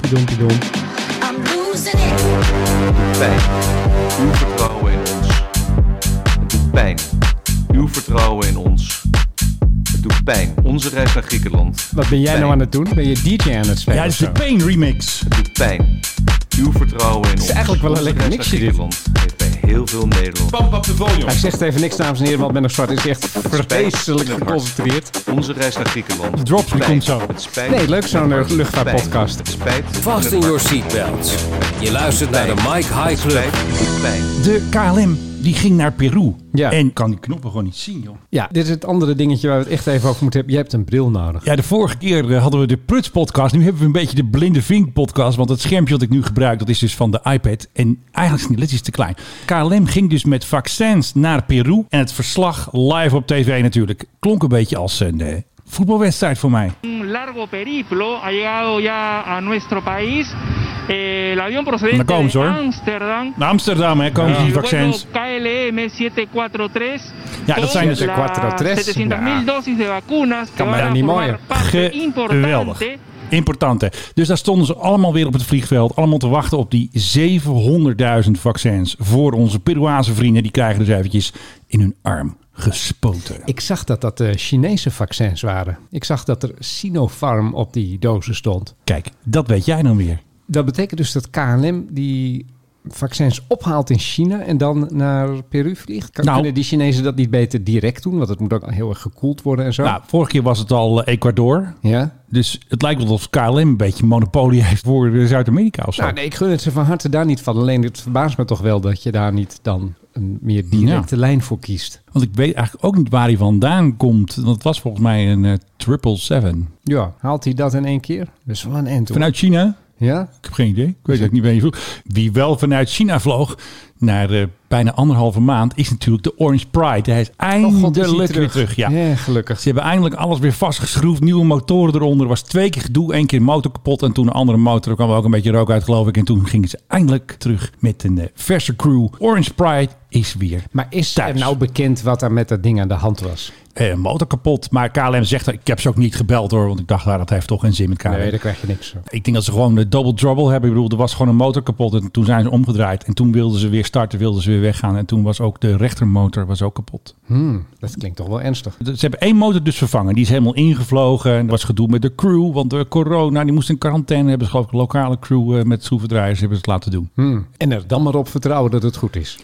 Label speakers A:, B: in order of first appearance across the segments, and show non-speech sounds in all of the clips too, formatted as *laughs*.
A: Pompidon.
B: I'm losing it.
C: pijn. Uw vertrouwen in ons. Het doet pijn. Uw vertrouwen in ons. Het doet pijn. Onze reis naar Griekenland.
A: Wat ben jij
C: Pijn.
A: nou aan het doen? Ben je DJ aan het spelen?
D: Ja, het
A: of
D: is de
A: zo?
D: Pain Remix.
C: Het doet pijn. Uw vertrouwen in ons. Het
A: is eigenlijk wel een lekker mixje, dit.
C: Griekenland heeft bij heel veel Nederland.
D: Pump up the volume.
A: Hij zegt even niks, dames en heren, want Ben nog Zwart is echt vreselijk geconcentreerd.
C: Onze reis naar Griekenland. Het
D: drops,
C: doet
D: die
C: pijn.
D: komt zo.
C: Het spijt.
A: Nee, leuk zo'n eh,
C: Pijn.
A: luchtvaartpodcast.
C: Het spijt.
E: Vast in your seatbelts. Je luistert naar de Mike High Club.
C: Pijn. Het doet pijn.
D: De KLM die ging naar Peru.
A: Ja.
D: En kan die knoppen gewoon niet zien, joh.
A: Ja, dit is het andere dingetje waar we het echt even over moeten hebben. Je hebt een bril nodig.
D: Ja, de vorige keer eh, hadden we de Pruts podcast. Nu hebben we een beetje de Blinde Vink podcast. Want het schermpje dat ik nu gebruik, dat is dus van de iPad. En eigenlijk is het niet, het is te klein. KLM ging dus met vaccins naar Peru. En het verslag live op tv natuurlijk. Klonk een beetje als een eh, voetbalwedstrijd voor mij.
F: un largo periplo, ha llegado ya a nuestro país. Eh, el avión procedente
D: Una cosa,
F: de
D: ¿eh?
F: Ámsterdam.
D: Naar Amsterdam, hè, komen
F: el
D: die
F: vuelo
D: vaccins.
F: KLM 743
D: Ja, dat zijn dus-
A: 743,
F: 700.000
A: ja.
F: dosis de vacunas que
A: maar
F: van
A: ja,
F: a
A: niet
F: formar
A: mooier.
F: parte
D: Geweldig.
F: importante
D: Importante. Dus daar stonden ze allemaal weer op het vliegveld. Allemaal te wachten op die 700.000 vaccins. Voor onze Peruaanse vrienden. Die krijgen dus eventjes in hun arm gespoten.
A: Ik zag dat dat eh, Chinese vaccins waren. Ik zag dat er Sinopharm op die dozen stond.
D: Kijk, dat weet jij dan weer.
A: Dat betekent dus dat KLM die vaccins ophaalt in China en dan naar Peru vliegt. Kan,
D: Nou.
A: kunnen die Chinezen dat niet beter direct doen? Want het moet ook heel erg gekoeld worden en zo.
D: Nou, vorige keer was het al eh, Ecuador.
A: ja?
D: Dus het lijkt wel alsof KLM een beetje monopolie *laughs* heeft voor eh, Zuid-Amerika of zo.
A: nou nee, ik gun het ze van harte daar niet van. Alleen het verbaast me toch wel dat je daar niet dan een meer directe lijn voor kiest.
D: Want ik weet eigenlijk ook niet waar hij vandaan komt. Want het was volgens mij een eh, 777.
A: Ja, haalt hij dat in één keer? Dat is wel een end hoor.
D: Vanuit China?
A: Ja?
D: Ik heb geen idee. Ik weet het niet meer. Wie wel vanuit China vloog naar eh, bijna anderhalve maand is natuurlijk de Orange Pride. Hij is
A: Oh
D: eindelijk
A: god, is hij
D: weer terug. Ja.
A: gelukkig.
D: Ze hebben eindelijk alles weer vastgeschroefd. Nieuwe motoren eronder. Er was twee keer gedoe. Eén keer een motor kapot en toen een andere motor. Er kwam ook een beetje rook uit, geloof ik. En toen gingen ze eindelijk terug met een eh, verse crew. Orange Pride is weer
A: Maar is
D: Thuis.
A: er nou bekend wat er met dat ding aan de hand was?
D: eh, een motor kapot. Maar KLM zegt, ik heb ze ook niet gebeld hoor. Want ik dacht, ah, dat heeft toch geen zin met KLM.
A: Nee, daar krijg je niks van.
D: Ik denk dat ze gewoon de double trouble hebben. Ik bedoel, er was gewoon een motor kapot en toen zijn ze omgedraaid. En toen wilden ze weer starten, wilden ze weer weggaan. En toen was ook de rechtermotor was ook kapot.
A: Hmm, dat klinkt toch wel ernstig.
D: Ze hebben één motor dus vervangen. Die is helemaal ingevlogen. En er was gedoe met de crew, want de corona, die moest in quarantaine. Hebben ze geloof ik een lokale crew eh, met schroevendraaiers hebben ze het laten doen.
A: Hmm. En er dan maar op vertrouwen dat het goed is.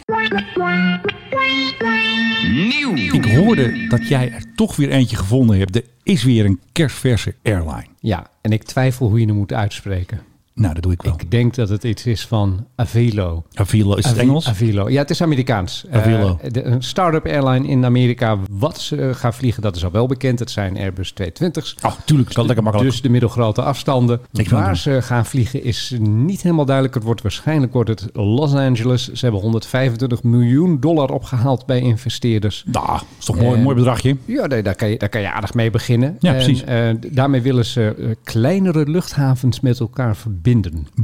D: Ik hoorde dat jij er toch weer eentje gevonden hebt. Er is weer een kerstverse airline.
A: Ja, en ik twijfel hoe je hem moet uitspreken.
D: Nou, dat doe ik wel.
A: Ik denk dat het iets is van Avilo.
D: Avilo, is het
A: Avi-
D: Engels?
A: Avilo. Ja, het is Amerikaans.
D: Avilo.
A: Eh, de- een start-up airline in Amerika. Wat ze eh, gaan vliegen, dat is al wel bekend. Het zijn Airbus 220's.
D: Oh, tuurlijk. is wel lekker makkelijk.
A: Dus de middelgrote afstanden.
D: Ik wil
A: Waar
D: doen.
A: ze gaan vliegen is niet helemaal duidelijk. Het wordt waarschijnlijk wordt het Los Angeles. Ze hebben 125 miljoen dollar opgehaald bij investeerders.
D: Nou, is toch een mooi,
A: Eh,
D: mooi bedragje.
A: Ja, nee, daar, kan je, daar kan je aardig mee beginnen.
D: Ja,
A: En,
D: precies.
A: eh, d- daarmee willen ze eh, kleinere luchthavens met elkaar verbinden.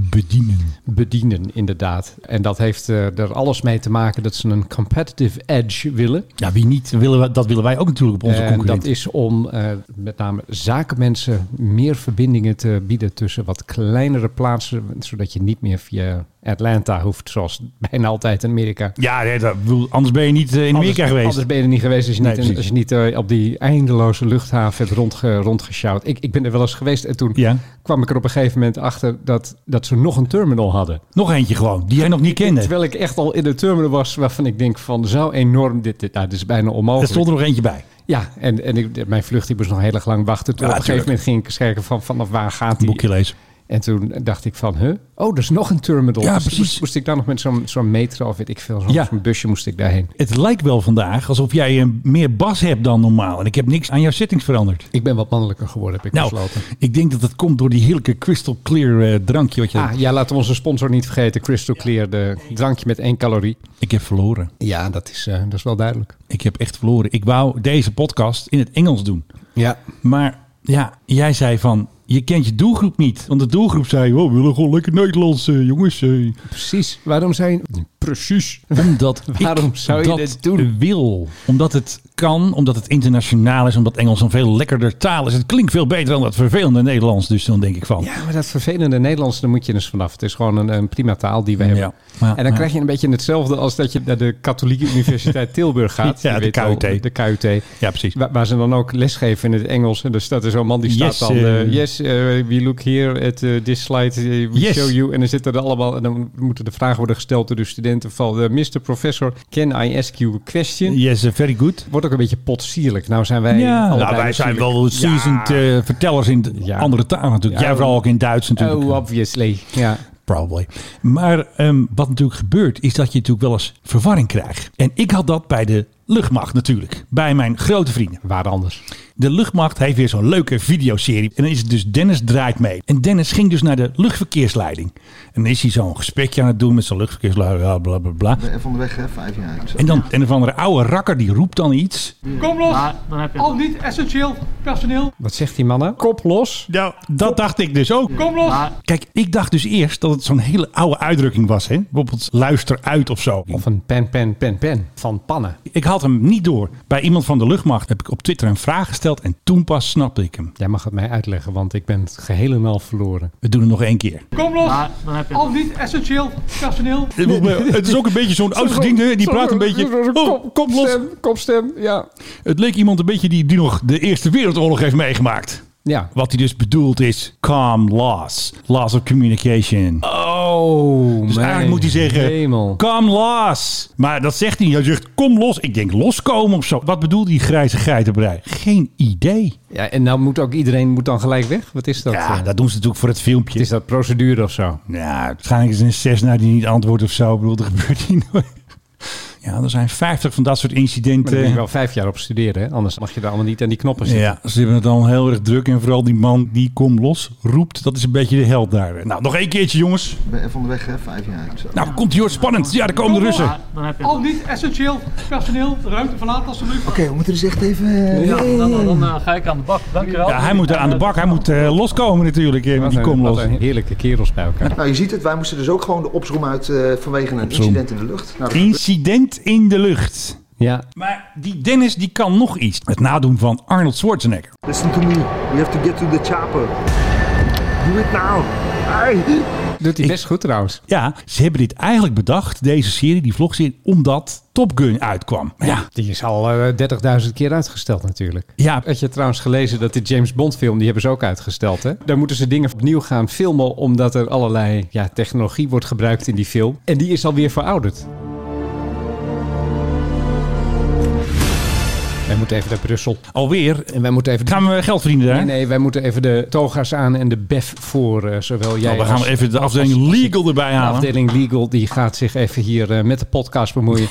D: Bedienen.
A: Bedienen, inderdaad. En dat heeft eh, er alles mee te maken dat ze een competitive edge willen.
D: Ja, wie niet, willen we, dat willen wij ook natuurlijk op onze
A: en Eh, dat
D: concurrenten.
A: is om eh, met name zakenmensen meer verbindingen te bieden tussen wat kleinere plaatsen. Zodat je niet meer via Atlanta hoeft, zoals *laughs* bijna altijd in Amerika.
D: Ja, nee, dat, bedoel, anders ben je niet eh, in Amerika
A: Anders-
D: geweest.
A: Anders ben je er niet geweest als je
D: Nee,
A: niet,
D: precies.
A: als je niet eh, op die eindeloze luchthaven hebt rondge, rondgesjouwd. Ik, ik ben er wel eens geweest en toen
D: Ja.
A: kwam ik er op een gegeven moment achter dat, dat ze nog een terminal hadden.
D: Nog eentje gewoon, die jij nog niet kende.
A: Terwijl ik echt al in de terminal was waarvan ik denk van zo enorm, dit, dit, nou, dit is bijna
D: Er
A: onmogelijk.
D: stond er nog eentje bij.
A: Ja, en, en ik, mijn vlucht die moest nog heel erg lang wachten. Toen
D: Ja,
A: op een gegeven
D: tuurlijk.
A: moment ging ik kijken van vanaf waar gaat
D: Een
A: die.
D: boekje lezen.
A: En toen dacht ik van, huh? Oh, er is nog een terminal.
D: Ja,
A: Dus
D: precies.
A: Moest, moest ik dan nog met zo'n zo'n metro of weet ik veel, zo'n
D: Ja.
A: zo'n busje moest ik daarheen.
D: Het lijkt wel vandaag alsof jij eh, meer bas hebt dan normaal. En ik heb niks aan jouw settings veranderd.
A: Ik ben wat mannelijker geworden, heb ik
D: Nou,
A: besloten.
D: ik denk dat dat komt door die heerlijke crystal clear eh, drankje. Wat je,
A: Ah, ja, laten we onze sponsor niet vergeten. Crystal Clear, de drankje met één calorie.
D: Ik heb verloren.
A: Ja, dat is, eh, dat is wel duidelijk.
D: Ik heb echt verloren. Ik wou deze podcast in het Engels doen.
A: Ja.
D: Maar ja, jij zei van, je kent je doelgroep niet. Want de doelgroep zei, oh, we willen gewoon lekker Nederlands, eh, jongens. eh.
A: Precies. Waarom zijn... Precies.
D: Omdat
A: *laughs* Waarom
D: ik
A: zou je
D: dat
A: dit doen?
D: wil. Omdat het kan, omdat het internationaal is, omdat Engels een veel lekkerder taal is. Het klinkt veel beter dan dat vervelende Nederlands. Dus dan denk ik van,
A: Ja, maar dat vervelende Nederlands, daar moet je dus vanaf. Het is gewoon een, een prima taal die we
D: Ja.
A: hebben.
D: Ja,
A: en dan
D: ja.
A: krijg je een beetje hetzelfde als dat je naar de Katholieke
D: *laughs*
A: Universiteit Tilburg gaat.
D: Ja,
A: Je
D: de
A: weet wel,
D: KUT.
A: de KUT.
D: Ja, precies.
A: Waar, waar ze dan ook lesgeven in het Engels. En dus dat is zo'n man die staat
D: Yes,
A: dan...
D: eh,
A: eh, yes, eh, we look here at eh, this slide. eh, we
D: Yes.
A: show you. En dan zitten er allemaal... En dan moeten de vragen worden gesteld door de studenten van... eh, Mr. Professor, can I ask you a question?
D: yes, eh, very good.
A: Wordt ook een beetje potsierlijk. Nou zijn wij...
D: Ja,
A: allebei
D: nou, wij zijn
A: natuurlijk-
D: wel seasoned eh, vertellers in de
A: Ja.
D: andere talen natuurlijk.
A: Ja.
D: Jij vooral ook in Duits natuurlijk.
A: Oh, obviously. Ja.
D: Probably. Maar ehm, wat natuurlijk gebeurt, is dat je natuurlijk wel eens verwarring krijgt. En ik had dat bij de luchtmacht natuurlijk. Bij mijn grote vrienden.
A: Waar anders.
D: De luchtmacht heeft weer zo'n leuke videoserie. En dan is het dus Dennis draait mee. En Dennis ging dus naar de luchtverkeersleiding. En dan is hij zo'n gesprekje aan het doen met zijn luchtverkeersleiding. Bla, bla, bla, bla.
G: En van de weg, hè, vijf jaar. Ik
D: En dan een of andere oude rakker die roept dan iets.
H: Kom los,
F: Dan heb je
H: al niet essentieel personeel.
A: Wat zegt die man nou? Kop los.
D: Nou, dat dacht ik dus ook.
H: Kom los.
D: Kijk, ik dacht dus eerst dat het zo'n hele oude uitdrukking was. Hè? Bijvoorbeeld luister uit of zo.
A: Of een pen, pen, pen, pen. Van pannen.
D: Ik had hem niet door. Bij iemand van de luchtmacht heb ik op Twitter een vraag gesteld en toen pas snapte ik hem.
A: Jij mag het mij uitleggen, want ik ben het geheel en al verloren.
D: We doen het nog één keer.
H: Kom los,
F: Dan heb je
H: al niet essentieel
D: *laughs*
H: personeel.
D: Het is ook een beetje zo'n oudgediende, die praat een beetje... Oh, kom los.
A: Kopstem, ja.
D: Het leek iemand een beetje die, die nog de Eerste Wereldoorlog heeft meegemaakt.
A: Ja.
D: Wat hij dus bedoelt is calm loss. Loss of communication.
A: Oh,
D: Dus eigenlijk moet hij zeggen, kom los. Maar dat zegt hij. Hij zegt, kom los. Ik denk, loskomen of zo. Wat bedoelt die grijze geitenbrei? Geen idee.
A: Ja, en nou moet ook iedereen moet dan gelijk weg. Wat is dat?
D: Ja,
A: eh?
D: dat doen ze natuurlijk voor het filmpje.
A: Is dat procedure of zo?
D: Nou, waarschijnlijk is er een Cessna die niet antwoordt of zo. Ik bedoel, dat gebeurt hier nooit. Ja, er zijn 50 van dat soort
A: Maar daar moet je
D: incidenten.
A: wel vijf jaar op studeren, hè? anders mag je daar allemaal niet aan die knoppen zitten.
D: Ja, ze hebben het al heel erg druk. En vooral die man die kom los roept, dat is een beetje de held daar. Nou, nog één keertje jongens.
G: ben van de weg, hè, vijf jaar. Ik zo.
D: Nou, komt hier spannend. Ja, daar komen de Russen.
F: Dan heb je
H: Al niet essentieel personeel. De ruimte verlaat alsjeblieft.
G: Oké, we moeten dus echt even... eh,
F: Dan, ga ik aan de bak. Dankjewel.
D: Ja, hij moet er aan de bak. Hij moet eh, loskomen natuurlijk, eh, met
A: Wat
D: die
A: een-
D: kom
A: wat
D: los.
A: een heerlijke kerels bij elkaar.
G: Nou, je ziet het, wij moesten dus ook gewoon de opsroom uit eh, vanwege een incident in de lucht. Nou, dat-
D: Incident in de lucht.
A: Ja,
D: Maar die Dennis, die kan nog iets. Het nadoen van Arnold Schwarzenegger.
G: Listen to me, we have to get to the chopper. Do it now. Ai.
A: doet hij best goed trouwens.
D: Ja, ze hebben dit eigenlijk bedacht, deze serie, die vlogserie, omdat Top Gun uitkwam. Maar Ja,
A: Die is al eh, 30.000 keer uitgesteld natuurlijk.
D: ja,
A: Had je trouwens gelezen dat de James Bond film, die hebben ze ook uitgesteld, hè? Daar moeten ze dingen opnieuw gaan filmen, omdat er allerlei ja, technologie wordt gebruikt in die film. En die is alweer verouderd. Wij moeten even naar Brussel.
D: alweer.
A: En wij moeten even...
D: Gaan we geld verdienen daar?
A: Nee, nee, wij moeten even de toga's aan en de bef voor eh, zowel jij
D: Nou, dan gaan we
A: als
D: even de afdeling legal erbij
A: de
D: halen.
A: afdeling Legal. Die gaat zich even hier eh, met de podcast bemoeien.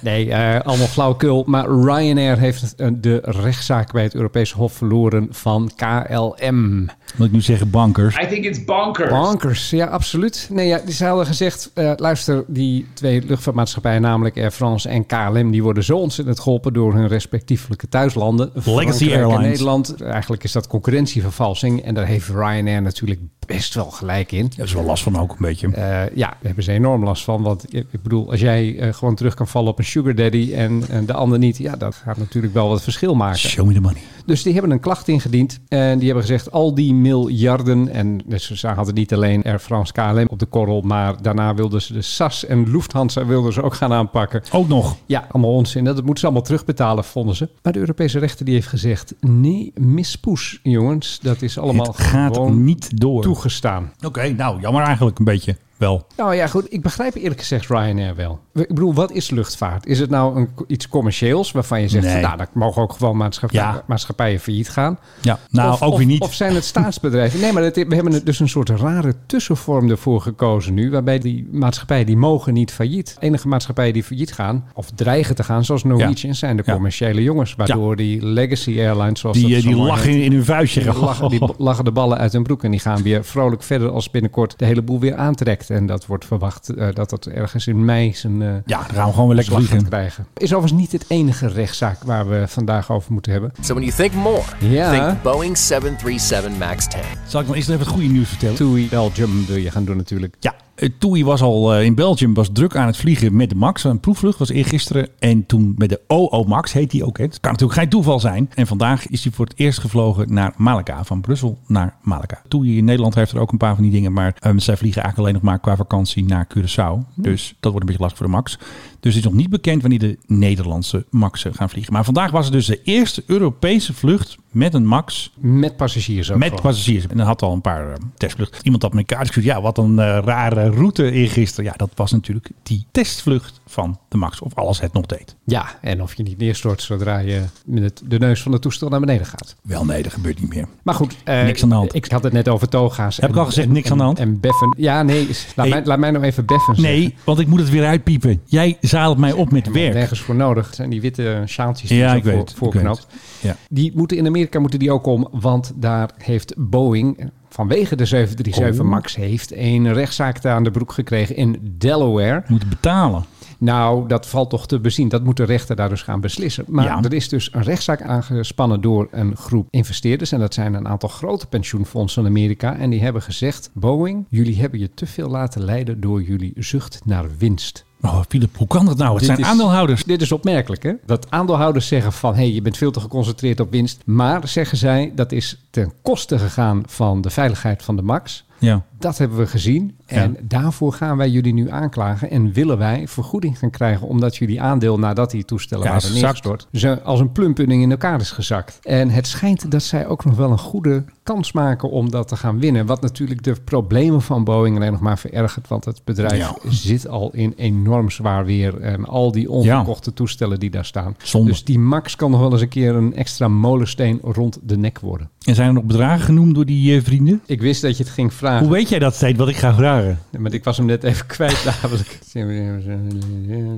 A: Nee, eh, allemaal flauwekul. Maar Ryanair heeft eh, de rechtszaak bij het Europese Hof verloren van KLM.
D: Moet ik nu zeggen bankers.
I: I think it's bonkers.
A: Bankers, ja, absoluut. Nee, ja, ze hadden gezegd, eh, luister, die twee luchtvaartmaatschappijen, namelijk Air France en KLM, die worden zo ontzettend geholpen door hun respectievelijke thuislanden. Frankrijk en
D: Airlines.
A: Nederland. Eigenlijk is dat concurrentievervalsing en daar heeft Ryanair natuurlijk best wel gelijk in.
D: Daar is wel last van ook een beetje.
A: Eh, ja, daar hebben ze enorm last van. Want eh, ik bedoel, als jij eh, gewoon terug kan vallen op een sugar daddy en, en de ander niet, ja, dat gaat natuurlijk wel wat verschil maken.
D: Show me the money.
A: Dus die hebben een klacht ingediend. En die hebben gezegd, al die miljarden... en dus ze ze hadden niet alleen Air France KLM op de korrel... maar daarna wilden ze de SAS en Lufthansa wilden ze ook gaan aanpakken.
D: Ook nog.
A: Ja, allemaal onzin. Dat moeten ze allemaal terugbetalen, vonden ze. Maar de Europese rechter die heeft gezegd... nee, mispoes, jongens. Dat is allemaal
D: Het gaat
A: gewoon
D: niet door. Oké,
A: toegestaan.
D: nou, jammer eigenlijk een beetje. Wel.
A: Nou ja, goed. Ik begrijp eerlijk gezegd Ryanair wel. Ik bedoel, wat is luchtvaart? Is het nou een, iets commercieels waarvan je zegt...
D: Nee.
A: nou, dan mogen ook gewoon maatschappij,
D: Ja.
A: maatschappijen failliet gaan?
D: Ja, nou,
A: of,
D: ook
A: of-
D: weer niet.
A: Of zijn het staatsbedrijven? Nee, maar het- we hebben er dus een soort rare tussenvorm ervoor gekozen nu. Waarbij die maatschappijen die mogen niet failliet. Enige maatschappijen die failliet gaan, of dreigen te gaan, zoals Norwegian, zijn de
D: Ja.
A: commerciële jongens. Waardoor die legacy airlines, zoals
D: die
A: dat
D: eh,
A: zo
D: die
A: mooi
D: lachen
A: heet,
D: in, in hun vuistje. *laughs*
A: die lachen, die lachen de ballen uit hun broek en die gaan weer vrolijk verder als binnenkort de hele boel weer aantrekt. En dat wordt verwacht eh, dat dat ergens in mei zijn eh,
D: Ja, dan gaan we gewoon weer lekker
A: slag gaat
D: vliegen.
A: krijgen. Is overigens niet het enige rechtszaak waar we vandaag over moeten hebben.
J: So when you think more,
A: Yeah.
J: think Boeing 737 MAX 10.
D: Zal ik dan eerst even het goede nieuws vertellen?
A: TUI Belgium wil je gaan doen natuurlijk.
D: Ja, Eh, Toei was al eh, in Belgium, was druk aan het vliegen met de Max. Een proefvlucht was eergisteren. En toen met de OO Max, heet die ook. Hè. Het kan natuurlijk geen toeval zijn. En vandaag is hij voor het eerst gevlogen naar Malaga. Van Brussel naar Malaga. Toei in Nederland heeft er ook een paar van die dingen. Maar eh, zij vliegen eigenlijk alleen nog maar qua vakantie naar Curaçao. Dus dat wordt een beetje lastig voor de Max. Dus het is nog niet bekend wanneer de Nederlandse Maxen gaan vliegen. Maar vandaag was het dus de eerste Europese vlucht met een Max
A: Met passagiers ook.
D: met
A: gewoon.
D: passagiers. En dan had al een paar eh, testvluchten. Iemand had me een kaart gestuurd. Ja, wat een eh, rare route eergisteren. Ja, dat was natuurlijk die testvlucht van de Max. Of alles het nog deed.
A: Ja, en of je niet neerstort zodra je met het- de neus van het toestel naar beneden gaat.
D: Wel nee, dat gebeurt niet meer.
A: Maar goed, eh,
D: Niks aan de hand.
A: Ik had het net over toga's.
D: Heb ik al gezegd, niks
A: en-
D: aan de hand?
A: En beffen. Ja, nee. Laat,
D: Nee.
A: Mij, laat mij nou even beffen zeggen.
D: Nee, want ik moet het weer uitpiepen. Jij zadelt mij op met werk.
A: Nergens voor nodig. Het zijn die witte sjaaltjes die
D: Ja,
A: zo
D: ik weet.
A: voor, voorknoopt.
D: ik weet. Ja.
A: Die moeten in Amerika moeten die ook om, want daar heeft Boeing vanwege de 737 Max heeft een rechtszaak daar aan de broek gekregen in Delaware.
D: Moeten betalen.
A: Nou, dat valt toch te bezien. Dat moeten rechter daar dus gaan beslissen. Maar
D: Ja.
A: er is dus een rechtszaak aangespannen door een groep investeerders. En dat zijn een aantal grote pensioenfondsen in Amerika. En die hebben gezegd: Boeing, jullie hebben je te veel laten leiden door jullie zucht naar winst.
D: Oh, Philip, hoe kan dat nou? Het
A: Dit
D: zijn
A: is-
D: aandeelhouders.
A: Dit is opmerkelijk, hè? Dat aandeelhouders zeggen van... hé, hey, je bent veel te geconcentreerd op winst. Maar, zeggen zij, dat is ten koste gegaan van de veiligheid van de MAX.
D: Ja.
A: Dat hebben we gezien. En daarvoor gaan wij jullie nu aanklagen. En willen wij vergoeding gaan krijgen... omdat jullie aandeel nadat die toestellen
D: Ja,
A: waren
D: is gezakt.
A: neergestort... Ze als een plumpudding in elkaar is gezakt. En het schijnt dat zij ook nog wel een goede kans maken... om dat te gaan winnen. Wat natuurlijk de problemen van Boeing alleen nog maar verergert. Want het bedrijf
D: Ja.
A: zit al in enorm zwaar weer. En al die onverkochte toestellen die daar staan.
D: Zonde.
A: Dus die Max kan nog wel eens een keer een extra molensteen rond de nek worden.
D: En zijn er nog bedragen genoemd door die eh, vrienden?
A: Ik wist dat je het ging vragen.
D: Hoe weet jij dat steeds wat ik ga vragen?
A: Maar ik was hem net even *laughs* kwijt namelijk.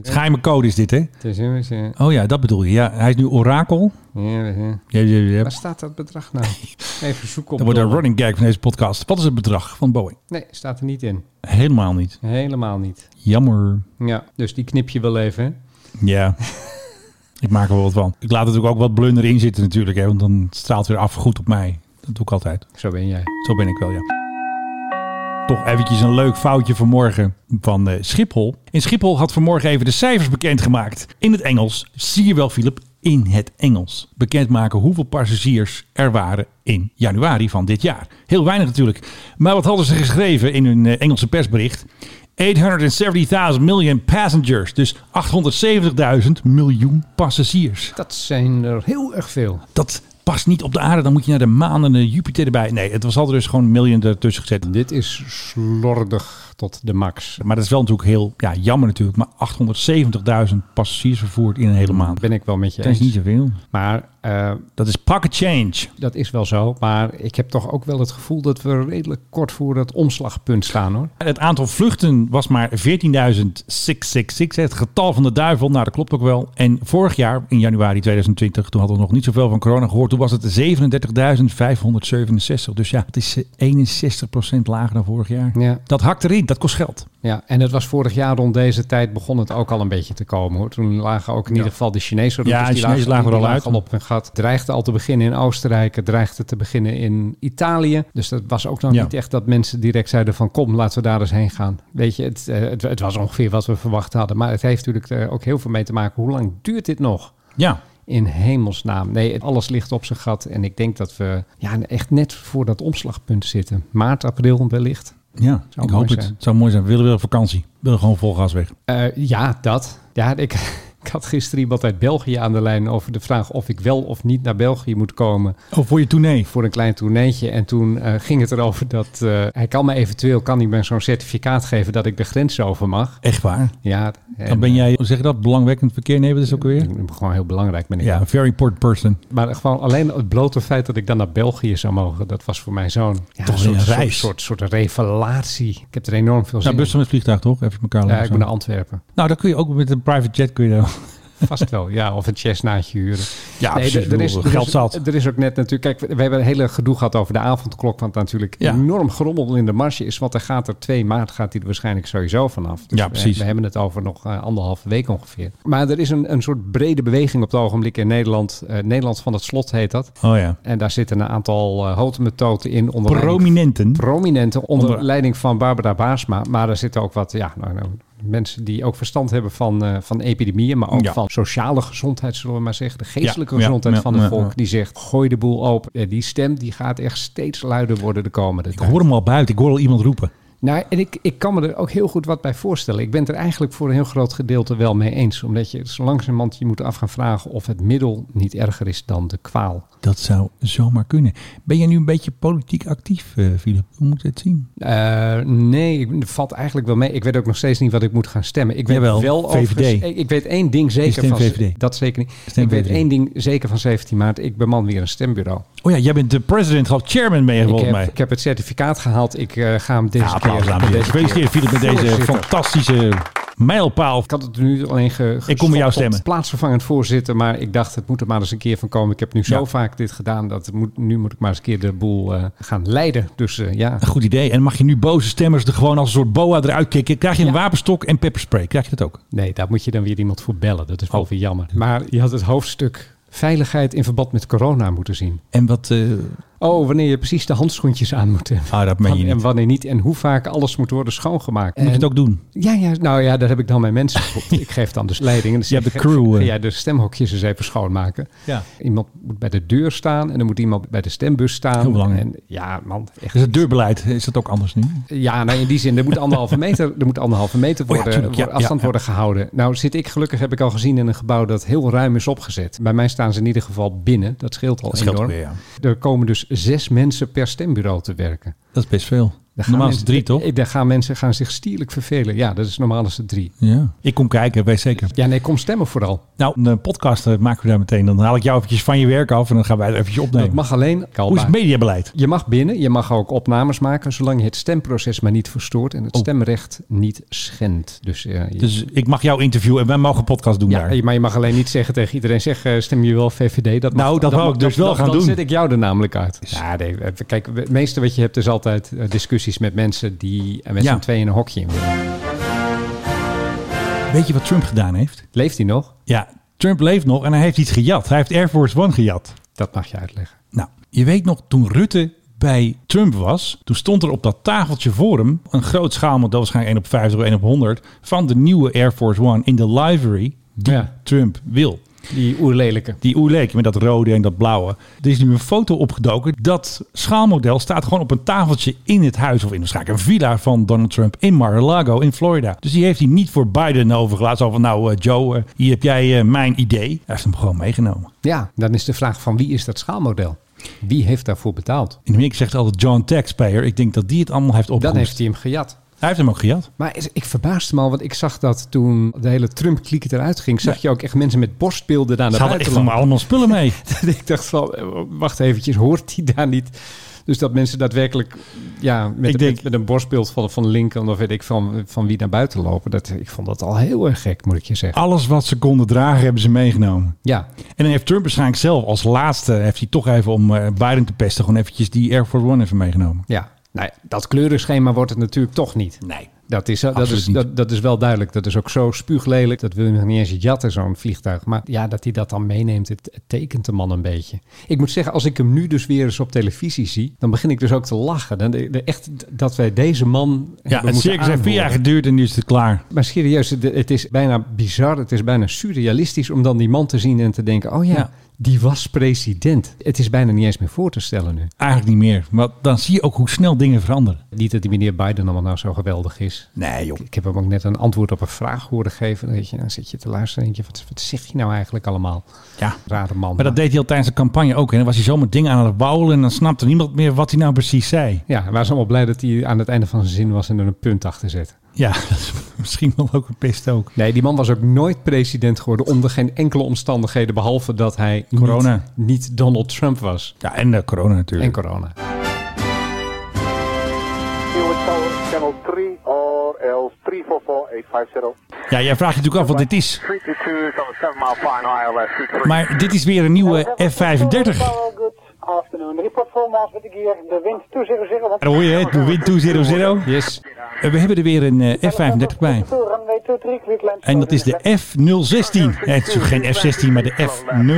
D: Geheime code is dit, hè? Oh ja, dat bedoel je. Ja, hij is nu orakel. Ja, ja, ja.
A: Waar staat dat bedrag nou? Even zoeken op.
D: Dat wordt een
A: dollar.
D: running gag van deze podcast. Wat is het bedrag van Boeing?
A: Nee, staat er niet in.
D: Helemaal niet.
A: Helemaal niet.
D: Jammer.
A: Ja, dus die knip je wel even. hè?
D: *laughs* Ja. ik maak er wel wat van. Ik laat natuurlijk ook wat blunder in zitten natuurlijk. Hè, want dan straalt het weer af goed op mij. Dat doe ik altijd.
A: Zo ben jij.
D: Zo ben ik wel, ja. Toch eventjes een leuk foutje vanmorgen van eh, Schiphol. En Schiphol had vanmorgen even de cijfers bekendgemaakt. In het Engels. Zie je wel, Philip? In het Engels. Bekendmaken hoeveel passagiers er waren in januari van dit jaar. Heel weinig natuurlijk. Maar wat hadden ze geschreven in hun eh, Engelse persbericht? 870.000 million passengers. Dus 870.000 miljoen passagiers.
A: Dat zijn er heel erg veel.
D: Dat past niet op de aarde. Dan moet je naar de maan en de Jupiter erbij. Nee, het was altijd dus gewoon een miljoen ertussen gezet.
A: Dit is slordig tot de max.
D: Maar dat is wel natuurlijk heel ja, jammer natuurlijk. Maar 870.000 passagiers vervoerd in een hele maand.
A: Ben ik wel met je
D: Dat is
A: eens.
D: niet zoveel.
A: Maar eh,
D: Dat is pocket change.
A: dat is wel zo. Maar ik heb toch ook wel het gevoel dat we redelijk kort voor dat omslagpunt staan hoor.
D: Het aantal vluchten was maar 14.666. Het getal van de duivel, nou dat klopt ook wel. En vorig jaar, in januari 2020, toen hadden we nog niet zoveel van corona gehoord. Toen was het 37.567. Dus ja, het is eh, 61% lager dan vorig jaar.
A: Ja.
D: Dat hakt erin, dat kost geld.
A: Ja, en het was vorig jaar rond deze tijd begon het ook al een beetje te komen. Hoor. Toen lagen ook in ieder geval de Chinese routes,
D: Ja, de
A: die
D: Chinezen lagen er
A: die
D: al uit.
A: al op hun gat. Dreigde al te beginnen in Oostenrijk, het dreigde te beginnen in Italië. Dus dat was ook nog
D: Ja.
A: niet echt dat mensen direct zeiden van kom, laten we daar eens heen gaan. Weet je, het, eh, het, het was ongeveer wat we verwacht hadden. Maar het heeft natuurlijk eh, ook heel veel mee te maken. Hoe lang duurt dit nog?
D: Ja,
A: In hemelsnaam. Nee, het- alles ligt op zijn gat. En ik denk dat we ja, echt net voor dat omslagpunt zitten. Maart, april wellicht.
D: Ja,
A: Zou
D: ik
A: mooi
D: hoop het.
A: zijn.
D: Het zou mooi zijn. We willen weer op vakantie. We willen gewoon vol gas weg.
A: Eh, ja, dat. Ja, ik, *laughs* ik had gisteren iemand uit België aan de lijn over de vraag of ik wel of niet naar België moet komen
D: Oh, voor je tournee.
A: voor een klein toerneetje. En toen eh, *laughs* ging het erover dat eh, hij kan me eventueel kan hij me zo'n certificaat geven dat ik de grens over mag.
D: Echt waar.
A: Ja, en,
D: Dan ben jij, hoe zeg je dat, belangwekkend verkeer? Nee, dat is ook weer.
A: eh, gewoon heel belangrijk ben ik.
D: Ja, een very important person.
A: Maar gewoon alleen het blote feit dat ik dan naar België zou mogen, dat was voor mij zo'n ja,
D: Toch
A: soort,
D: een
A: soort-
D: reis.
A: Soort, soort, revelatie. Ik heb er enorm veel zin in.
D: Nou, bus met vliegtuig toch? Even elkaar
A: Ja,
D: langs.
A: ik ben naar Antwerpen. *laughs*
D: Nou, dan kun je ook met een private jet kun je daar-
A: Vast wel, ja. Of een chestnaatje huren. Nee,
D: Ja, precies.
A: er-
D: Ik
A: er
D: bedoel,
A: is, er,
D: geld
A: is,
D: zat.
A: er is ook net natuurlijk... Kijk, we hebben een hele gedoe gehad over de avondklok. Want natuurlijk
D: Ja.
A: enorm gerommel in de marge is. Want er gaat er 2 maart gaat die er waarschijnlijk sowieso vanaf. Dus
D: Ja,
A: we-
D: precies.
A: We, hebben het over nog eh, anderhalve week ongeveer. Maar er is een, een soort brede beweging op het ogenblik in Nederland. Eh, Nederland van het slot heet dat.
D: Oh ja.
A: En daar zitten een aantal eh hotemetoten in. Onder leiding-
D: Prominenten.
A: prominente onder,
D: Onder-
A: leiding van Barbara Baasma. Maar er zitten ook wat ja, nou, nou, mensen die ook verstand hebben van, eh, van epidemieën, maar ook
D: Ja.
A: van sociale gezondheid, zullen we maar zeggen. De geestelijke
D: Ja, ja,
A: gezondheid
D: ja,
A: van het
D: ja,
A: volk.
D: ja.
A: Die zegt, gooi de boel open. Eh, die stem die gaat echt steeds luider worden de komende
D: Ik
A: tijd.
D: hoor hem al buiten. Ik hoor al iemand roepen.
A: Nou, en ik, ik kan me er ook heel goed wat bij voorstellen. Ik ben het er eigenlijk voor een heel groot gedeelte wel mee eens. Omdat je zo langzamerhand je moet af gaan vragen of het middel niet erger is dan de kwaal.
D: Dat zou zomaar kunnen. Ben jij nu een beetje politiek actief, eh, Philip? Hoe moet het zien?
A: Eh, nee, ik- het valt eigenlijk wel mee. Ik weet ook nog steeds niet wat ik moet gaan stemmen. Ik weet
D: Jawel,
A: wel
D: VVD.
A: overigens- Ik, ik weet één ding zeker
D: stem
A: van
D: VVD.
A: dat zeker niet.
D: Stem
A: ik weet
D: VVD.
A: één ding zeker van 17 maart. Ik beman weer een stembureau.
D: Oh ja, jij bent de president, gewoon chairman mee,
A: ik,
D: volgens
A: heb,
D: mij.
A: ik heb het certificaat gehaald. Ik eh, ga hem deze
D: Ja, applaus
A: keer.
D: aan Philip.
A: deze keer.
D: Gefeliciteerd, Philip, met deze
A: Voorzitter.
D: fantastische mijlpaal.
A: Ik had het nu alleen ge,
D: Ik kom bij
A: gestopt tot
D: jou stemmen.
A: plaatsvervangend voorzitter, maar ik dacht het moet er maar eens een keer van komen. Ik heb nu zo
D: Ja.
A: vaak dit gedaan dat het moet, nu moet ik maar eens een keer de boel eh, gaan leiden. Dus eh, ja,
D: Een goed idee. En mag je nu boze stemmers er gewoon als een soort boa eruit kicken? Krijg je een
A: Ja.
D: wapenstok en pepperspray? Krijg je dat ook?
A: Nee, daar moet je dan weer iemand voor bellen. Dat is wel
D: Oh.
A: weer jammer. Maar je had het hoofdstuk veiligheid in verband met corona moeten zien.
D: En wat... eh,
A: Oh, wanneer je precies de handschoentjes aan moet hebben.
D: ah, dat meen je
A: en
D: niet.
A: wanneer niet en hoe vaak alles moet worden schoongemaakt.
D: Moet je
A: En-
D: het ook doen?
A: Ja, ja, nou ja, daar heb ik dan mijn mensen
D: *laughs*
A: voor. ik geef dan dus leiding. En dan
D: Je hebt
A: zeg
D: de
A: ik,
D: crew, eh.
A: Ja, de stemhokjes eens even schoonmaken.
D: Ja.
A: Iemand moet bij de deur staan en dan moet iemand bij de stembus staan.
D: Heel belangrijk.
A: En, ja, man, echt
D: Dus het deurbeleid, is dat ook anders nu?
A: ja, nou in die zin, er moet
D: *laughs*
A: anderhalve meter, er moet anderhalve meter
D: Oh ja,
A: worden,
D: tuurlijk, ja,
A: worden- afstand
D: ja, ja.
A: worden gehouden. Nou zit ik gelukkig, heb ik al gezien, in een gebouw dat heel ruim is opgezet. Bij mij staan ze in ieder geval binnen. Dat scheelt al
D: Dat scheelt
A: enorm.
D: ook weer, ja.
A: Er komen dus zes mensen per stembureau te werken.
D: Dat is best veel.
A: Daar gaan
D: Normaal is
A: mensen-
D: het drie, toch?
A: eh, Daar gaan mensen gaan zich stierlijk vervelen. Ja, dat is normaal is het drie.
D: Ja. Ik kom kijken, weet zeker.
A: Ja, nee, kom stemmen vooral.
D: Nou, een podcast eh, maken we daar meteen. Dan haal ik jou eventjes van je werk af en dan gaan wij het eventjes
A: Dat
D: opnemen.
A: mag alleen.
D: Hoe is het mediabeleid?
A: Je mag binnen, je mag ook opnames maken, zolang je het stemproces maar niet verstoort en het
D: Oh.
A: stemrecht niet schendt. Dus, eh, je-
D: Dus ik mag jou interviewen en wij mogen een podcast doen
A: Ja,
D: daar.
A: maar je mag alleen niet zeggen tegen iedereen, zeg eh, stem je wel VVD? Dat mag-
D: Nou, dat wou
A: mag-
D: ik dus wel
A: dan-
D: gaan
A: dan
D: doen.
A: zet ik jou er namelijk uit. Ja, nee, eh, kijk, het meeste wat je hebt is altijd eh, discussies met mensen die eh, met
D: Ja.
A: z'n tweeën in een hokje in willen.
D: Weet je wat Trump gedaan heeft?
A: Leeft hij nog?
D: Ja, Trump leeft nog en hij heeft iets gejat. Hij heeft Air Force One gejat.
A: Dat mag je uitleggen.
D: Nou, je weet nog, toen Rutte bij Trump was, toen stond er op dat tafeltje voor hem een groot schaalmodel, waarschijnlijk 1 op 50 of 1 op 100, van de nieuwe Air Force One in de livery die
A: Ja.
D: Trump wil.
A: Die oerlelijke.
D: Die oerleek met dat rode en dat blauwe. Er is nu een foto opgedoken. Dat schaalmodel staat gewoon op een tafeltje in het huis of in waarschijnlijk een villa van Donald Trump in Mar-a-Lago in Florida. Dus die heeft hij niet voor Biden overgelaten. Zo van nou eh, Joe, eh, hier heb jij eh, mijn idee. Hij heeft hem gewoon meegenomen.
A: Ja, dan is de vraag van wie is dat schaalmodel? Wie heeft daarvoor betaald?
D: In Amerika zegt altijd John Taxpayer. Ik denk dat die het allemaal heeft
A: Dan
D: opgehoest.
A: heeft hij hem gejat.
D: Hij heeft hem ook gejat.
A: Maar is- ik verbaasde me al, want ik zag dat toen de hele Trump-kliek eruit ging, zag je ook echt mensen met borstbeelden daar
D: Ze
A: naar
D: hadden echt
A: buiten lopen.
D: van allemaal spullen mee.
A: Dat ik dacht van, eh, wacht eventjes, hoort die daar niet? Dus dat mensen daadwerkelijk ja, met,
D: Ik denk-
A: met, met een borstbeeld van, van Lincoln of weet ik van, van wie naar buiten lopen. Dat, ik vond dat al heel erg gek, moet ik je zeggen.
D: *laughs* Alles wat ze konden dragen hebben ze meegenomen.
A: Ja,
D: En dan heeft Trump waarschijnlijk zelf als laatste, heeft hij toch even om eh, Biden te pesten, gewoon eventjes die Air Force One even meegenomen.
A: ja. Nou, ja, dat kleurenschema wordt het natuurlijk toch niet.
D: Nee.
A: Dat is, dat,
D: Absoluut
A: is,
D: niet.
A: dat, dat is wel duidelijk. Dat is ook zo spuuglelijk. Dat wil je nog niet eens jatten, zo'n vliegtuig. Maar ja, dat hij dat dan meeneemt, het, het tekent de man een beetje. Ik moet zeggen, als ik hem nu dus weer eens op televisie zie... dan begin ik dus ook te lachen. Dan, de, de- echt dat wij deze man
D: Ja,
A: hebben
D: het
A: moeten
D: circus heeft vier
A: aanhoren.
D: jaar geduurd en nu is het klaar.
A: Maar serieus, het- het is bijna bizar, het is bijna surrealistisch om dan die man te zien en te denken: oh ja,
D: Ja.
A: die was president. Het is bijna niet eens meer voor te stellen nu.
D: Eigenlijk niet meer. Maar dan zie je ook hoe snel dingen veranderen.
A: Niet dat die meneer Biden allemaal nou zo geweldig is.
D: Nee, joh.
A: Ik heb hem ook net een antwoord op een vraag horen geven. Dan, weet je, dan zit je te luisteren en denk je: wat, wat zegt hij nou eigenlijk allemaal?
D: Ja.
A: Rare man.
D: Maar dat deed hij al tijdens de campagne ook. En dan was hij zomaar dingen aan het bouwen en dan snapte niemand meer wat hij nou precies zei.
A: ja, we waren allemaal blij dat hij aan het einde van zijn zin was en er een punt achter zette.
D: Ja, *laughs* dat is misschien wel ook een pest ook.
A: Nee, die man was ook nooit president geworden onder geen enkele omstandigheden, behalve dat hij niet-
D: Corona.
A: niet Donald Trump was.
D: Ja, en de corona
A: En
D: natuurlijk.
A: corona.
I: Channel 3 or else 344 850.
D: Ja, jij vraagt je natuurlijk af wat dit is.
I: 322 is on a 7 mile flying ILS 23.
D: Maar dit is weer een nieuwe F-35.
I: Good afternoon. Report full mass with the gear. De wind 200.
D: En hoor je het, wind 200.
A: Yes.
D: En We hebben er weer een eh, F-35 bij.
I: Runway 23, clear climb.
D: En dat is de F-016. Ja, het is natuurlijk geen F-16, maar de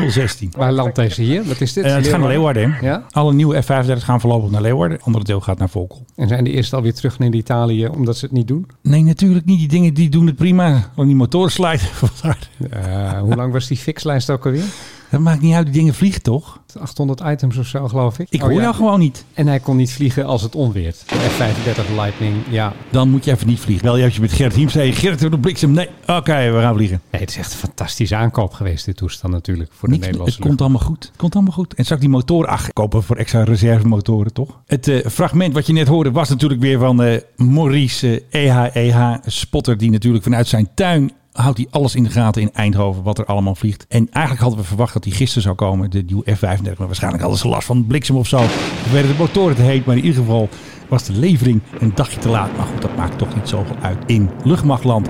D: F-016.
A: Waar landt deze hier? Wat is dit?
D: Eh het gaat naar Leeuwarden. hè?
A: Ja?
D: Alle nieuwe F-35 gaan voorlopig naar Leeuwarden. Het andere deel gaat naar Volkel.
A: En zijn die eerst alweer terug naar Italië omdat ze het niet doen?
D: Nee, natuurlijk niet. Die dingen die doen het prima. Want die motoren slijten. *laughs* Vandaar.
A: Eh, hoe lang was die fixlijst ook alweer?
D: Dat maakt niet uit. Die dingen vliegen toch?
A: 800 items of zo, geloof ik.
D: Ik
A: Oh,
D: hoor
A: ja.
D: jou gewoon niet.
A: En hij kon niet vliegen als het onweert. F-35 Lightning, ja.
D: Dan moet je even niet vliegen. Wel juist met Gerrit Hiemse. Hey, Gerrit, we doen bliksem. Nee, oké, we gaan vliegen.
A: Nee, het is echt een fantastische aankoop geweest, dit toestand natuurlijk, voor de
D: Niks,
A: Nederlandse
D: het komt allemaal goed. Het komt allemaal goed. En straks die motoren ach, kopen voor extra reservemotoren, toch? Het eh, fragment wat je net hoorde was natuurlijk weer van eh, Maurice eh, EHEH Spotter. Die natuurlijk vanuit zijn tuin houdt hij alles in de gaten in Eindhoven. Wat er allemaal vliegt. En eigenlijk hadden we verwacht dat hij gisteren zou komen. De nieuwe F-35. Maar waarschijnlijk hadden ze last van bliksem of zo. Dan werden de motoren te heet. Maar in ieder geval was de levering een dagje te laat. Maar goed, dat maakt toch niet zoveel uit in luchtmachtland.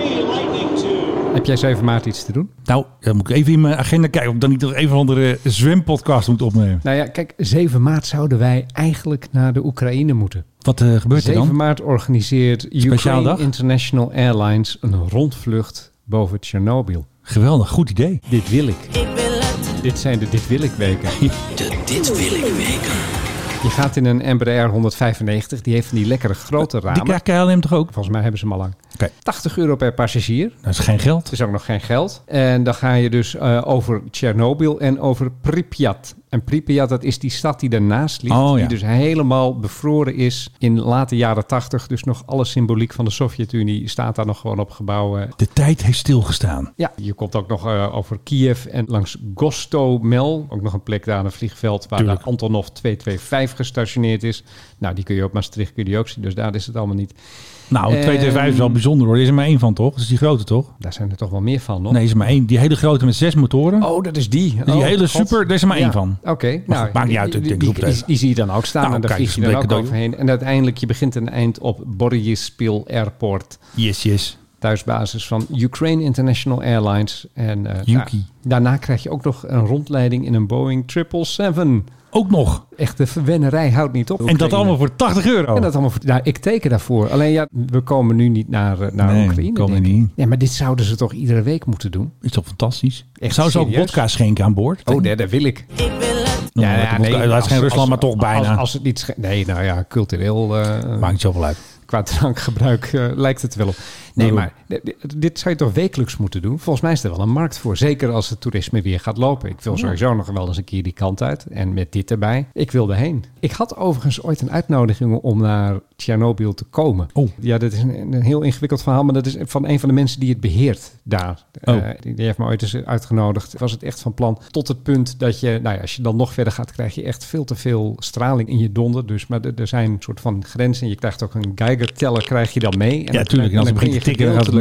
A: lucht. Heb jij 7 maart iets te doen?
D: Nou, dan moet ik even in mijn agenda kijken of ik dan niet nog even een andere eh, zwempodcast moet opnemen.
A: Nou ja, kijk, 7 maart zouden wij eigenlijk naar de Oekraïne moeten.
D: Wat eh, gebeurt er
A: 7
D: dan?
A: maart organiseert
D: Speciaal
A: Ukraine
D: dag?
A: International Airlines een rondvlucht boven Tsjernobyl.
D: Geweldig, goed idee.
A: Dit wil ik. Dit zijn de Dit wil ik *laughs* weken.
E: De Dit Wil Ik Weken.
A: Je gaat in een Embraer 195, die heeft van die lekkere grote
D: Die
A: ramen.
D: krijgt KLM toch ook? Oké,
A: Volgens mij hebben ze hem al lang. 80 euro per passagier.
D: dat is geen geld.
A: Het is ook nog geen geld. En dan ga je dus eh, over Tsjernobyl en over Pripyat. En Pripyat, dat is die stad die daarnaast ligt.
D: Oh,
A: Die
D: ja.
A: dus helemaal bevroren is in de late jaren 80. Dus nog alle symboliek van de Sovjet-Unie staat daar nog gewoon op gebouwen.
D: De tijd heeft stilgestaan.
A: Ja, je komt ook nog eh, over Kiev en langs Gostomel. Ook nog een plek daar aan een vliegveld waar de
D: Tuurlijk.
A: Antonov 225 gestationeerd is. Nou, die kun je op Maastricht kun je die ook zien. Dus daar is het allemaal niet.
D: Nou,
A: Eh,
D: een 225 is wel bijzonder hoor. Er is er maar één van toch? Dat is die grote toch?
A: Daar zijn er toch wel meer van, nog?
D: Nee, er is er maar één. Die hele grote met zes motoren.
A: Oh, dat is die.
D: Die
A: Oh,
D: hele
A: god.
D: super, daar is er maar één van.
A: Oké,
D: Maar
A: nou,
D: goed, maakt niet uit, ik
A: Die,
D: denk,
A: die,
D: roep het
A: die,
D: even.
A: die zie je dan ook staan
D: Nou,
A: en daar
D: kijk,
A: vlieg
D: dat
A: je
D: is
A: dan
D: een
A: ook
D: cadeau.
A: overheen. En uiteindelijk, je begint en eind op Boryspil Airport,
D: Yes, yes.
A: thuisbasis van Ukraine International Airlines. En eh,
D: Yuki.
A: nou, daarna krijg je ook nog een rondleiding in een Boeing 777.
D: Ook nog.
A: Echt, de verwennerij houdt niet op.
D: En dat
A: Oekraïne.
D: allemaal voor 80 euro.
A: nou? En dat allemaal voor- nou, ik teken daarvoor. Alleen ja, we komen nu niet naar, eh, naar
D: Nee,
A: Oekraïne.
D: komen
A: denk ik.
D: niet.
A: Ja, maar dit zouden ze toch iedere week moeten doen?
D: is toch fantastisch?
A: Echt,
D: Zou ze ook
A: serieus?
D: vodka schenken aan boord?
A: Oh, nee, dat wil ik.
D: Nou, dat vodka- dat is
A: als-
D: geen Rusland,
A: als-
D: maar toch
A: als-
D: bijna.
A: Als, als het niet sche- nee, nou ja, cultureel eh,
D: Maakt niet zoveel uit.
A: qua *laughs* drankgebruik eh, lijkt het wel op. Nee,
D: Daarom.
A: maar d- d- dit zou je toch wekelijks moeten doen? Volgens mij is er wel een markt voor. Zeker als het toerisme weer gaat lopen. Ik wil sowieso nog wel eens een keer die kant uit. En met dit erbij. Ik wil erheen. Ik had overigens ooit een uitnodiging om naar Tsjernobyl te komen.
D: Oh.
A: Ja, dat is een, een heel ingewikkeld verhaal. Maar dat is van een van de mensen die het beheert daar.
D: Oh.
A: Eh, die, die heeft me ooit eens uitgenodigd. Was het echt van plan tot het punt dat je... Nou ja, als je dan nog verder gaat, krijg je echt veel te veel straling in je donder. Dus maar er- er zijn een soort van grenzen. Je krijgt ook een Geiger-teller krijg je dan mee. En
D: Ja,
A: dan-
D: tuurlijk. En als
A: dan
D: het
A: kun
D: begint
A: je
D: te tikken, dan gaat het
A: gedeeltelijk-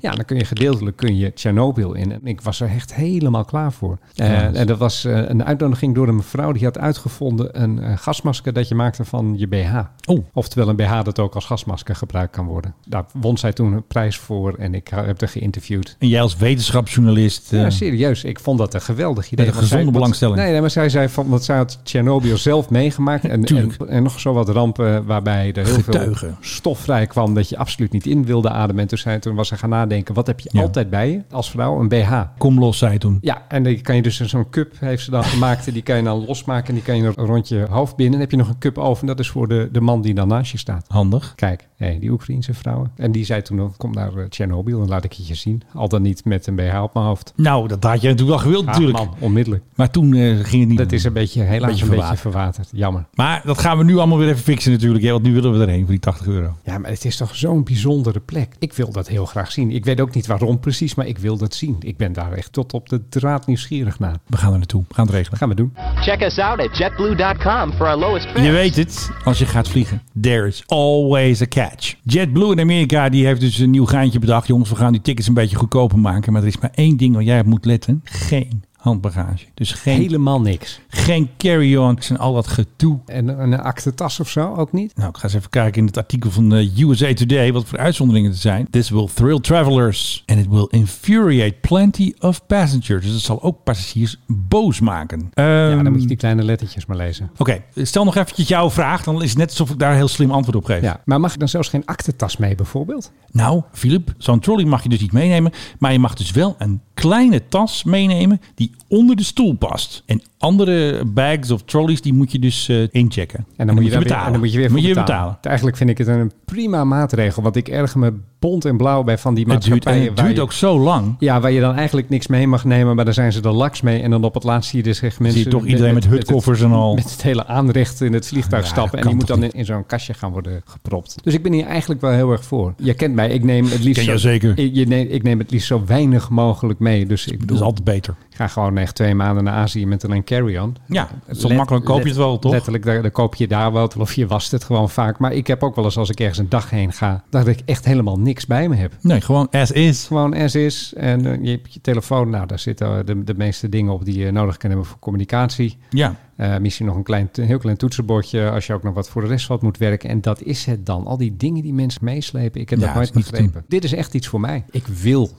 A: Ja, dan kun je gedeeltelijk kun je Tsjernobyl in. En ik was er echt helemaal klaar voor. Eh,
D: Ja, dus- dat is-
A: en dat was eh, een uitnodiging door een mevrouw die had uitgevonden een eh, gasmasker dat je maakte van je BH.
D: Oh,
A: Oftewel een BH dat ook als gasmasker gebruikt kan worden. Daar won zij toen een prijs voor en ik heb haar geïnterviewd.
D: en jij als wetenschapsjournalist. eh,
A: Ja, serieus. Ik vond dat een geweldig idee.
D: Met een
A: Want zij-
D: gezonde
A: want-
D: belangstelling.
A: Nee, nee, maar zij zei van, want zij had Tsjernobyl zelf meegemaakt. En, en,
D: Tuurlijk.
A: en nog zo wat rampen waarbij er heel veel
D: Getuigen.
A: stof vrij kwam dat je absoluut niet in wilde ademen. En toen, zei, toen was ze gaan nadenken, wat heb je
D: Ja.
A: altijd bij je als vrouw? Een BH.
D: kom los, zei hij toen.
A: Ja, en die kan je dus in zo'n cup heeft ze dan gemaakt. En die kan je dan losmaken en die kan je rond je hoofd binden. En dan heb je nog een cup over en dat is voor de, de man die dan naast je staat.
D: Handig.
A: Kijk, hé, die Oekraïense vrouwen. En die zei toen, ook, kom naar eh, Tsjernobyl en laat ik het je zien. Al dan niet met een BH op mijn hoofd.
D: Nou, dat had je natuurlijk wel gewild
A: Ah,
D: natuurlijk.
A: man, onmiddellijk.
D: Maar toen eh, ging het niet.
A: Dat is een beetje, helaas
D: Beetje
A: een Mm. beetje
D: verwaterd.
A: verwaterd. Jammer.
D: Maar dat gaan we nu allemaal weer even fixen natuurlijk. Hè? Want nu willen we erheen voor die 80 euro.
A: Ja, maar het is toch zo'n bijzondere plek. Ik wil dat heel graag zien. Ik weet ook niet waarom precies, maar ik wil dat zien. Ik ben daar echt tot op de draad nieuwsgierig naar.
D: We gaan er naartoe. We gaan het regelen.
A: Dat gaan we doen.
I: Check us out at jetblue.com for our lowest fares.
D: Je weet het, als je gaat vliegen. There is always a catch. JetBlue in Amerika die heeft dus een nieuw geintje bedacht. Jongens, we gaan die tickets een beetje goedkoper maken. Maar er is maar één ding waar jij op moet letten. Geen handbagage. Dus geen,
A: Helemaal niks.
D: geen carry-ons en al dat gedoe.
A: En een aktentas of zo ook niet?
D: Nou, ik ga eens even kijken in het artikel van eh, USA Today wat voor uitzonderingen er zijn. This will thrill travelers and it will infuriate plenty of passengers. Dus het zal ook passagiers boos maken.
A: ja, dan
D: Ehm,
A: moet je die kleine lettertjes maar lezen.
D: Oké, stel nog eventjes jouw vraag. Dan is het net alsof ik daar een heel slim antwoord op geef.
A: Ja, maar mag ik dan zelfs geen aktentas mee bijvoorbeeld?
D: Nou, Filip, zo'n trolley mag je dus niet meenemen. Maar je mag dus wel een kleine tas meenemen die onder de stoel past. En andere bags of trolleys, die moet je dus eh, inchecken.
A: En dan, moet je, daar weer-
D: betalen.
A: en dan moet je weer voor
D: moet je
A: betalen. Eigenlijk vind ik het een prima maatregel, want ik erger me bont en blauw bij van die
D: Het duurt, en
A: maatschappijen.
D: het
A: waar
D: duurt
A: je-
D: ook zo lang.
A: Ja, waar je dan eigenlijk niks mee mag nemen, maar daar zijn ze dan laks mee. En dan op het laatst zie je dus echt mensen...
D: Zie je toch iedereen met
A: het-
D: hutkoffers en al.
A: Met het hele aanrecht in het vliegtuig
D: Ja,
A: stappen.
D: dat
A: En die
D: kan
A: moet
D: toch
A: dan in, in zo'n kastje gaan worden gepropt. Dus ik ben hier eigenlijk wel heel erg voor. Je kent mij, ik neem het liefst...
D: Ken jou
A: zo-
D: zeker.
A: Ik, je neem, ik neem het liefst zo weinig mogelijk mee. Dus ik
D: Dat is
A: bedoel,
D: altijd beter.
A: ik ga gewoon echt twee maanden naar Azië met alleen carry-on.
D: Ja, zo
A: Let-
D: makkelijk koop je
A: let-
D: het wel, toch?
A: Letterlijk, daar, daar koop je daar wel. Of je wast het gewoon vaak. Maar ik heb ook wel eens, als ik ergens een dag heen ga, dat ik echt helemaal niks bij me heb.
D: Nee, gewoon as is.
A: Gewoon as is. En eh, je hebt je telefoon. Nou, daar zitten eh, de, de meeste dingen op die je nodig kan hebben voor communicatie.
D: Ja,
A: Eh, misschien nog een, klein, een heel klein toetsenbordje als je ook nog wat voor de rest wat moet werken. En dat is het dan. Al die dingen die mensen meeslepen, ik heb
D: Ja,
A: dat
D: het is
A: nooit
D: niet te
A: begrepen. Dit is echt iets voor mij. Ik wil.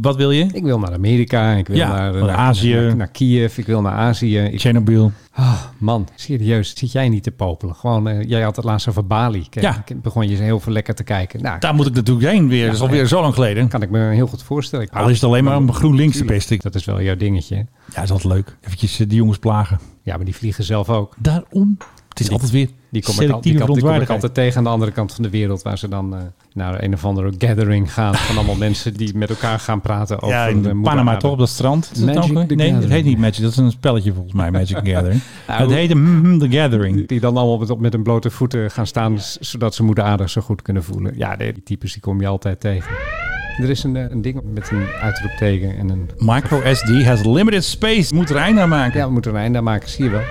D: wat wil je?
A: Ik wil naar Amerika. Ik wil
D: Ja,
A: naar,
D: naar Azië.
A: Naar, naar Kiev. Ik wil naar Azië. Ik,
D: Chernobyl.
A: Ah, man, serieus. Zit jij niet te popelen? Gewoon, eh, jij had het laatst over Bali. Kijk,
D: Ja.
A: ik begon je heel veel lekker te kijken. Nou,
D: Daar moet ik natuurlijk heen weer. dat is alweer zo lang geleden.
A: kan ik me heel goed voorstellen. Ik
D: Al is het alleen maar om GroenLinks te pesten.
A: Dat is wel jouw dingetje. hè?
D: Ja, is altijd leuk. Eventjes eh, die jongens plagen.
A: Ja, maar die vliegen zelf ook.
D: Daarom. Het is altijd weer
A: Die kom, ik, al, die,
D: selectieve
A: kant- die kom ik
D: verontwaardigheid.
A: altijd tegen aan de andere kant van de wereld, waar ze dan eh, naar een of andere gathering gaan van *laughs* allemaal mensen die met elkaar gaan praten over
D: Ja,
A: de
D: in
A: moeder
D: Panama
A: aarde.
D: toch, op dat strand. Is dat
A: Magic
D: ook, hè?
A: the
D: nee, het heet
A: Gathering.
D: niet Magic. Dat is een spelletje volgens mij, Magic
A: *laughs*
D: the Gathering.
A: Nou,
D: het heette mm, The Gathering.
A: Die dan allemaal met, met hun blote voeten gaan staan, z- zodat ze moeder aardig zo goed kunnen voelen. Ja, die, die types die kom je altijd tegen. Er is een, eh, een ding met een uitroepteken en een...
D: Micro SD has limited space. Moet er eind aan maken.
A: Ja, we moeten er een einde aan maken, zie je wel.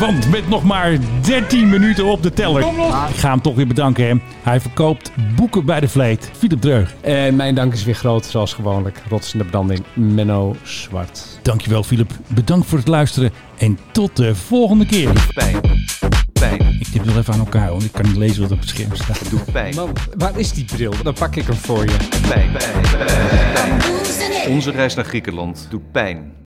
D: Want met nog maar 13 minuten op de teller. Ik ga hem toch weer bedanken, hè. Hij verkoopt boeken bij de vleet. Philip Dreug.
A: En mijn dank is weer groot, zoals gewoonlijk. Rotsende branding, Menno Zwart.
D: Dankjewel, Philip. Bedankt voor het luisteren. En tot de volgende keer.
C: Pijn. Pijn.
D: Ik tip nog even aan elkaar, want ik kan niet lezen wat op het scherm staat.
C: Het doet pijn.
A: Man, waar is die bril? Dan pak ik hem voor je.
C: Pijn. Pijn. Pijn.
B: I'm losing it.
C: Onze reis naar Griekenland doet pijn.